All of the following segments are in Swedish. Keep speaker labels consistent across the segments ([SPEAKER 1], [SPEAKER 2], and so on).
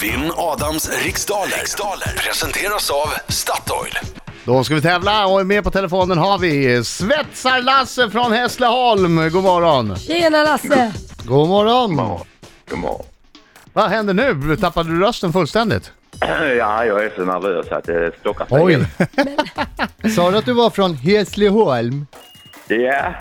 [SPEAKER 1] Vinn Adams riksdaler. riksdaler presenteras av Statoil.
[SPEAKER 2] Då ska vi tävla och med på telefonen har vi Svetsar-Lasse från Hässleholm. God morgon!
[SPEAKER 3] Tjena Lasse!
[SPEAKER 2] God morgon!
[SPEAKER 4] God morgon.
[SPEAKER 2] Vad händer nu? Tappade du rösten fullständigt?
[SPEAKER 4] Ja, jag är så nervös att det stockar sig.
[SPEAKER 5] Oj! Sa du att du var från Hässleholm?
[SPEAKER 4] Ja.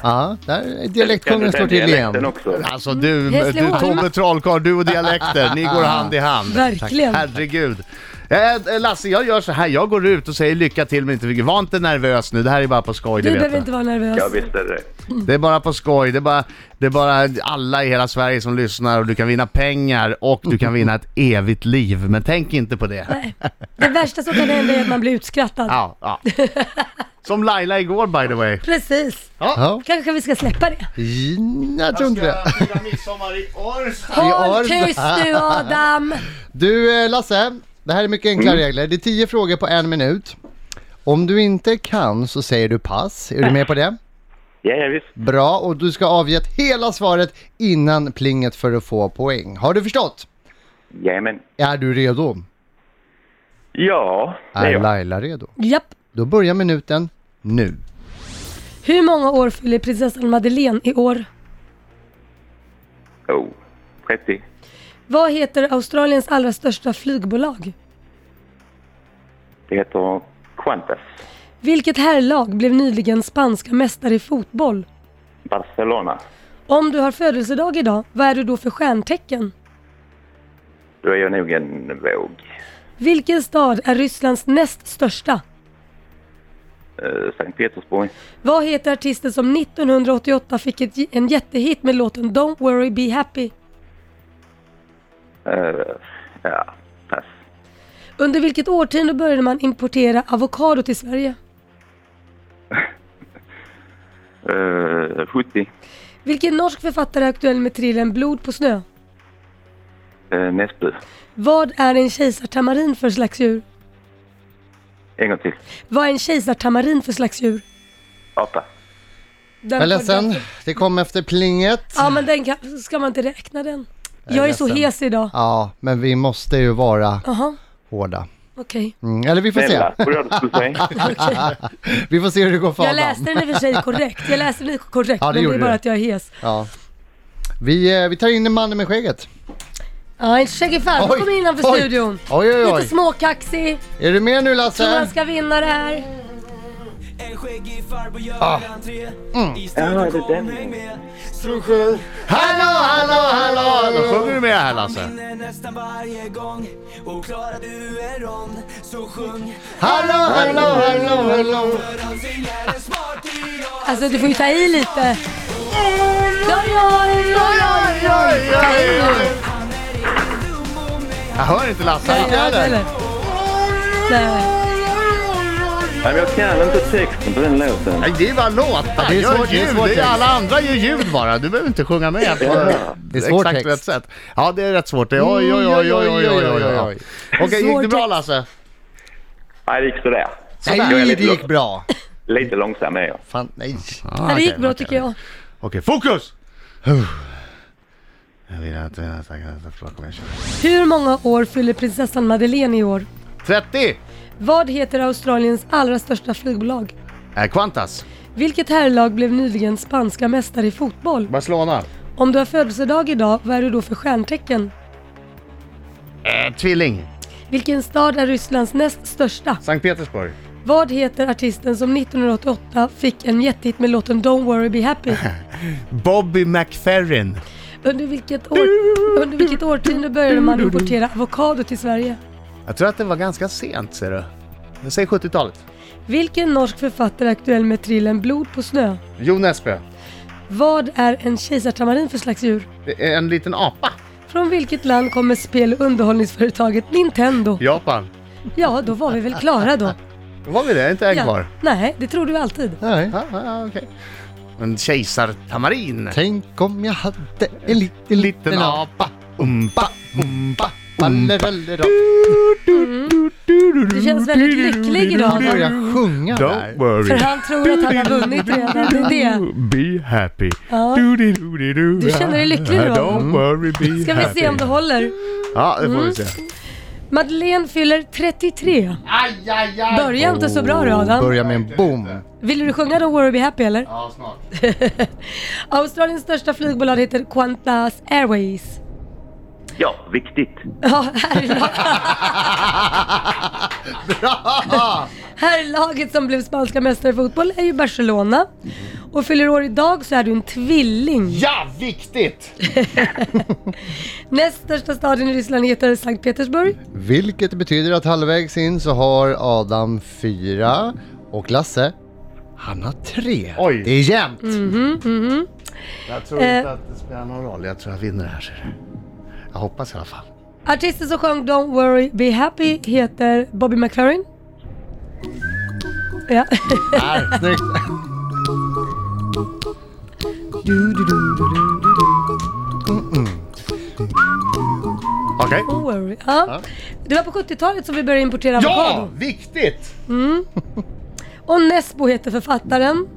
[SPEAKER 5] Ja, där dialektkungligen slår till
[SPEAKER 4] Dialekten
[SPEAKER 5] igen.
[SPEAKER 4] också.
[SPEAKER 2] Alltså du, du
[SPEAKER 3] Mm, Hässleholm.
[SPEAKER 2] Tobbe Trollkarl, du och dialekter, ni går hand i hand.
[SPEAKER 3] Verkligen.
[SPEAKER 2] Herregud. Eh, Lasse, jag gör så här. Jag går ut och säger lycka till men inte var inte nervös nu. Det här är bara på skoj,
[SPEAKER 3] Du
[SPEAKER 2] det vet
[SPEAKER 3] behöver
[SPEAKER 2] du.
[SPEAKER 3] inte vara nervös.
[SPEAKER 4] Jag visste det.
[SPEAKER 2] Det är bara på skoj. Det är bara, det är bara alla i hela Sverige som lyssnar och du kan vinna pengar och du kan vinna ett evigt liv. Men tänk inte på det.
[SPEAKER 3] Nej. Det värsta som kan hända är att man blir utskrattad.
[SPEAKER 2] Ja, ja. Som Laila igår by the way.
[SPEAKER 3] Precis.
[SPEAKER 5] Ja,
[SPEAKER 3] Kanske vi ska släppa det.
[SPEAKER 5] Mm, jag tror inte det.
[SPEAKER 2] fira midsommar i Årsta.
[SPEAKER 3] Håll
[SPEAKER 5] Orsa.
[SPEAKER 3] tyst nu Adam!
[SPEAKER 5] Du eh, Lasse, det här är mycket enkla
[SPEAKER 2] Mm.
[SPEAKER 5] regler. Det är tio frågor på en minut. Om du inte kan så säger du pass. Är du med på det?
[SPEAKER 4] Ja, ja, visst.
[SPEAKER 5] Bra, och du ska avge hela svaret innan plinget för att få poäng. Har du förstått?
[SPEAKER 4] Jajamän.
[SPEAKER 5] Är du redo?
[SPEAKER 4] Ja, det är
[SPEAKER 5] Är
[SPEAKER 4] jag.
[SPEAKER 5] Laila redo?
[SPEAKER 3] Japp.
[SPEAKER 5] Då börjar minuten nu.
[SPEAKER 3] Hur många år fyller prinsessan Madeleine i år?
[SPEAKER 4] Oh, 30.
[SPEAKER 3] Vad heter Australiens allra största flygbolag?
[SPEAKER 4] Det heter Qantas.
[SPEAKER 3] Vilket herrlag blev nyligen spanska mästare i fotboll?
[SPEAKER 4] Barcelona.
[SPEAKER 3] Om du har födelsedag idag, vad är du då för stjärntecken?
[SPEAKER 4] Då är jag nog en våg.
[SPEAKER 3] Vilken stad är Rysslands näst största?
[SPEAKER 4] Eh, Sankt Petersburg.
[SPEAKER 3] Vad heter artisten som 1988 fick ett, en jättehit med låten Don't worry be happy?
[SPEAKER 4] Eh, ja, pass.
[SPEAKER 3] Under vilket årtionde började man importera avokado till Sverige?
[SPEAKER 4] Eh, 70.
[SPEAKER 3] Vilken norsk författare är aktuell med thrillern Blod på snö?
[SPEAKER 4] Uh, Näsby.
[SPEAKER 3] Vad är en kejsartamarin för slags djur?
[SPEAKER 4] En gång till.
[SPEAKER 3] Vad är en kejsartamarin för slags djur?
[SPEAKER 4] Apa.
[SPEAKER 3] Den
[SPEAKER 5] Jag är
[SPEAKER 3] får
[SPEAKER 5] ledsen,
[SPEAKER 3] du-
[SPEAKER 5] det kom efter plinget.
[SPEAKER 3] Ja men den kan, ska man inte räkna den. Jag är, så
[SPEAKER 5] ledsen.
[SPEAKER 3] hes idag.
[SPEAKER 5] Ja, men vi måste ju vara
[SPEAKER 3] Jaha,
[SPEAKER 5] hårda.
[SPEAKER 3] okej.
[SPEAKER 5] Mm, eller vi får se.
[SPEAKER 4] Snälla, vad var det du skulle säga?
[SPEAKER 5] Vi får se hur det går för
[SPEAKER 3] Jag
[SPEAKER 5] Adam.
[SPEAKER 3] läste den i och för sig korrekt. Jag läste den korrekt
[SPEAKER 5] Ja,
[SPEAKER 3] men
[SPEAKER 5] det
[SPEAKER 3] det
[SPEAKER 5] gjorde
[SPEAKER 3] är bara
[SPEAKER 5] du.
[SPEAKER 3] att jag är hes.
[SPEAKER 5] Ja. Vi, eh, vi tar in mannen med skägget.
[SPEAKER 3] Ja, en skäggig farbror
[SPEAKER 5] Oj,
[SPEAKER 3] kommer innanför
[SPEAKER 5] oj.
[SPEAKER 3] studion.
[SPEAKER 5] Oj, oj, oj.
[SPEAKER 3] Lite småkaxig,
[SPEAKER 5] Är du med nu
[SPEAKER 3] tror han
[SPEAKER 5] Lasse?
[SPEAKER 3] ska vinna det här.
[SPEAKER 6] En skäggig farbror gör entré I studion
[SPEAKER 4] det är den.
[SPEAKER 6] kom häng med
[SPEAKER 2] Hallå, hallå, hallå, hallå! Sjunger du med här Lasse?
[SPEAKER 6] Vinner nästan varje gång Och klarar du en rond Så sjung
[SPEAKER 5] Hallå, hallå, hallå, hallå!
[SPEAKER 6] För han singlar en smarty och
[SPEAKER 3] Alltså du får ju ta i lite.
[SPEAKER 2] Jag hör inte Lasse.
[SPEAKER 3] Nej,
[SPEAKER 2] Hör du?
[SPEAKER 3] eller? Nej.
[SPEAKER 4] Nej, men jag kan inte texten på den låten.
[SPEAKER 2] Nej, det är bara låtar.
[SPEAKER 5] det är
[SPEAKER 2] Gör
[SPEAKER 5] svårt, det är
[SPEAKER 2] ljud.
[SPEAKER 5] svårt
[SPEAKER 2] Det är
[SPEAKER 5] text.
[SPEAKER 2] alla andra gör ljud bara. Du behöver inte sjunga med på
[SPEAKER 5] Det är svår
[SPEAKER 2] exakt
[SPEAKER 5] text.
[SPEAKER 2] rätt sätt. Ja, det är rätt svårt. Det är oj, oj, oj, oj, oj, oj, oj, oj. Okej, gick
[SPEAKER 3] Svår
[SPEAKER 2] det bra
[SPEAKER 3] text.
[SPEAKER 2] Lasse?
[SPEAKER 4] Nej, det gick sådär. Jag är
[SPEAKER 5] Nej,
[SPEAKER 4] lite
[SPEAKER 5] det gick
[SPEAKER 4] lång-
[SPEAKER 5] bra.
[SPEAKER 4] Lite långsam är jag.
[SPEAKER 5] Fan, nej.
[SPEAKER 2] Ah,
[SPEAKER 3] Ja, det gick
[SPEAKER 2] okej,
[SPEAKER 3] bra
[SPEAKER 2] okej.
[SPEAKER 3] tycker jag.
[SPEAKER 2] Okej, fokus! Jag vill att- jag vill att- jag vill att- förlåt, kom igen, kör.
[SPEAKER 3] Hur många år fyller prinsessan Madeleine i år?
[SPEAKER 2] 30!
[SPEAKER 3] Vad heter Australiens allra största flygbolag?
[SPEAKER 2] Eh, Qantas.
[SPEAKER 3] Vilket herrlag blev nyligen spanska mästare i fotboll?
[SPEAKER 2] Barcelona.
[SPEAKER 3] Om du har födelsedag idag, vad är du då för stjärntecken?
[SPEAKER 2] Eh, tvilling.
[SPEAKER 3] Vilken stad är Rysslands näst största?
[SPEAKER 2] Sankt Petersburg.
[SPEAKER 3] Vad heter artisten som 1988 fick en jättehit med låten Don't worry be happy?
[SPEAKER 2] Bobby McFerrin.
[SPEAKER 3] Under vilket, år, under vilket årtionde började man importera avokado till Sverige?
[SPEAKER 2] Jag tror att det var ganska sent, ser du. Jag säger 70-talet.
[SPEAKER 3] Vilken norsk författare är aktuell med thrillern Blod på snö?
[SPEAKER 2] Jo Nesbø.
[SPEAKER 3] Vad är en kejsartamarin för slags djur?
[SPEAKER 2] Det är En liten apa.
[SPEAKER 3] Från vilket land kommer spel och underhållningsföretaget Nintendo?
[SPEAKER 2] Japan.
[SPEAKER 3] Ja, då var vi väl klara då.
[SPEAKER 2] Då var vi det, inte en
[SPEAKER 3] Ja.
[SPEAKER 2] kvar.
[SPEAKER 3] Nej, det tror du alltid.
[SPEAKER 5] nej.
[SPEAKER 2] Ah, ah, okej. En kejsartamarin.
[SPEAKER 5] Tänk om jag hade en liten, liten
[SPEAKER 2] Liten
[SPEAKER 5] apa.
[SPEAKER 2] apa. Umpa, umpa, umpa.
[SPEAKER 5] Ballerallera.
[SPEAKER 3] Du känns väldigt lycklig
[SPEAKER 5] Han
[SPEAKER 3] idag. va?
[SPEAKER 2] Mm.
[SPEAKER 5] börjar sjunga
[SPEAKER 2] Don't
[SPEAKER 5] där.
[SPEAKER 3] För
[SPEAKER 2] worry.
[SPEAKER 3] han tror att han har vunnit redan. Det är det.
[SPEAKER 2] Be happy.
[SPEAKER 3] Ja.
[SPEAKER 2] Du
[SPEAKER 3] Du känner dig lycklig nu, va?
[SPEAKER 2] Don't worry, be
[SPEAKER 3] Ska vi
[SPEAKER 2] happy.
[SPEAKER 3] se om det håller.
[SPEAKER 5] Mm.
[SPEAKER 2] Ja, det får vi se.
[SPEAKER 3] Madeleine fyller 33.
[SPEAKER 5] Aj, aj, aj!
[SPEAKER 3] Börjar inte så bra då Adam.
[SPEAKER 2] Börja med en boom.
[SPEAKER 3] Vill du sjunga då Worry Be Happy eller?
[SPEAKER 5] Ja, snart.
[SPEAKER 3] Australiens största flygbolag heter Qantas Airways.
[SPEAKER 4] Ja, viktigt.
[SPEAKER 3] Ja, här är, la- här är laget som blev spanska mästare i fotboll är ju Barcelona. Och fyller år idag så är du en tvilling.
[SPEAKER 5] Ja, viktigt!
[SPEAKER 3] Näst största staden i Ryssland heter Sankt Petersburg.
[SPEAKER 2] Vilket betyder att halvvägs in så har Adam fyra och Lasse, han har tre.
[SPEAKER 5] Oj.
[SPEAKER 2] Det är jämnt.
[SPEAKER 5] Mhm, Jag tror inte att det spelar någon roll. Jag tror jag vinner det här. ser du. Jag hoppas i alla fall.
[SPEAKER 3] Artisten som sjöng Don't Worry Be Happy heter Bobby McFerrin. Ja.
[SPEAKER 2] Där, snyggt.
[SPEAKER 5] Okej.
[SPEAKER 3] Don't worry. Ja. Det var på 70-talet som vi började importera
[SPEAKER 5] Ja,
[SPEAKER 3] avokado.
[SPEAKER 5] viktigt!
[SPEAKER 3] Och Nesbo heter författaren.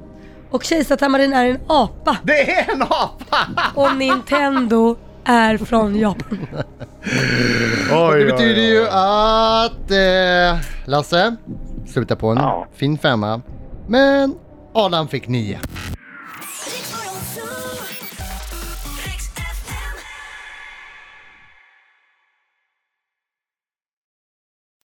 [SPEAKER 3] Och Kejsartamarin är en apa.
[SPEAKER 5] Det är en apa!
[SPEAKER 3] Och Nintendo är från Japan.
[SPEAKER 5] Oj,
[SPEAKER 2] Det betyder ju att eh, Lasse slutar på en
[SPEAKER 4] Ja.
[SPEAKER 2] fin femma. Men Adam fick nio.
[SPEAKER 7] Riksmorgon, zoo.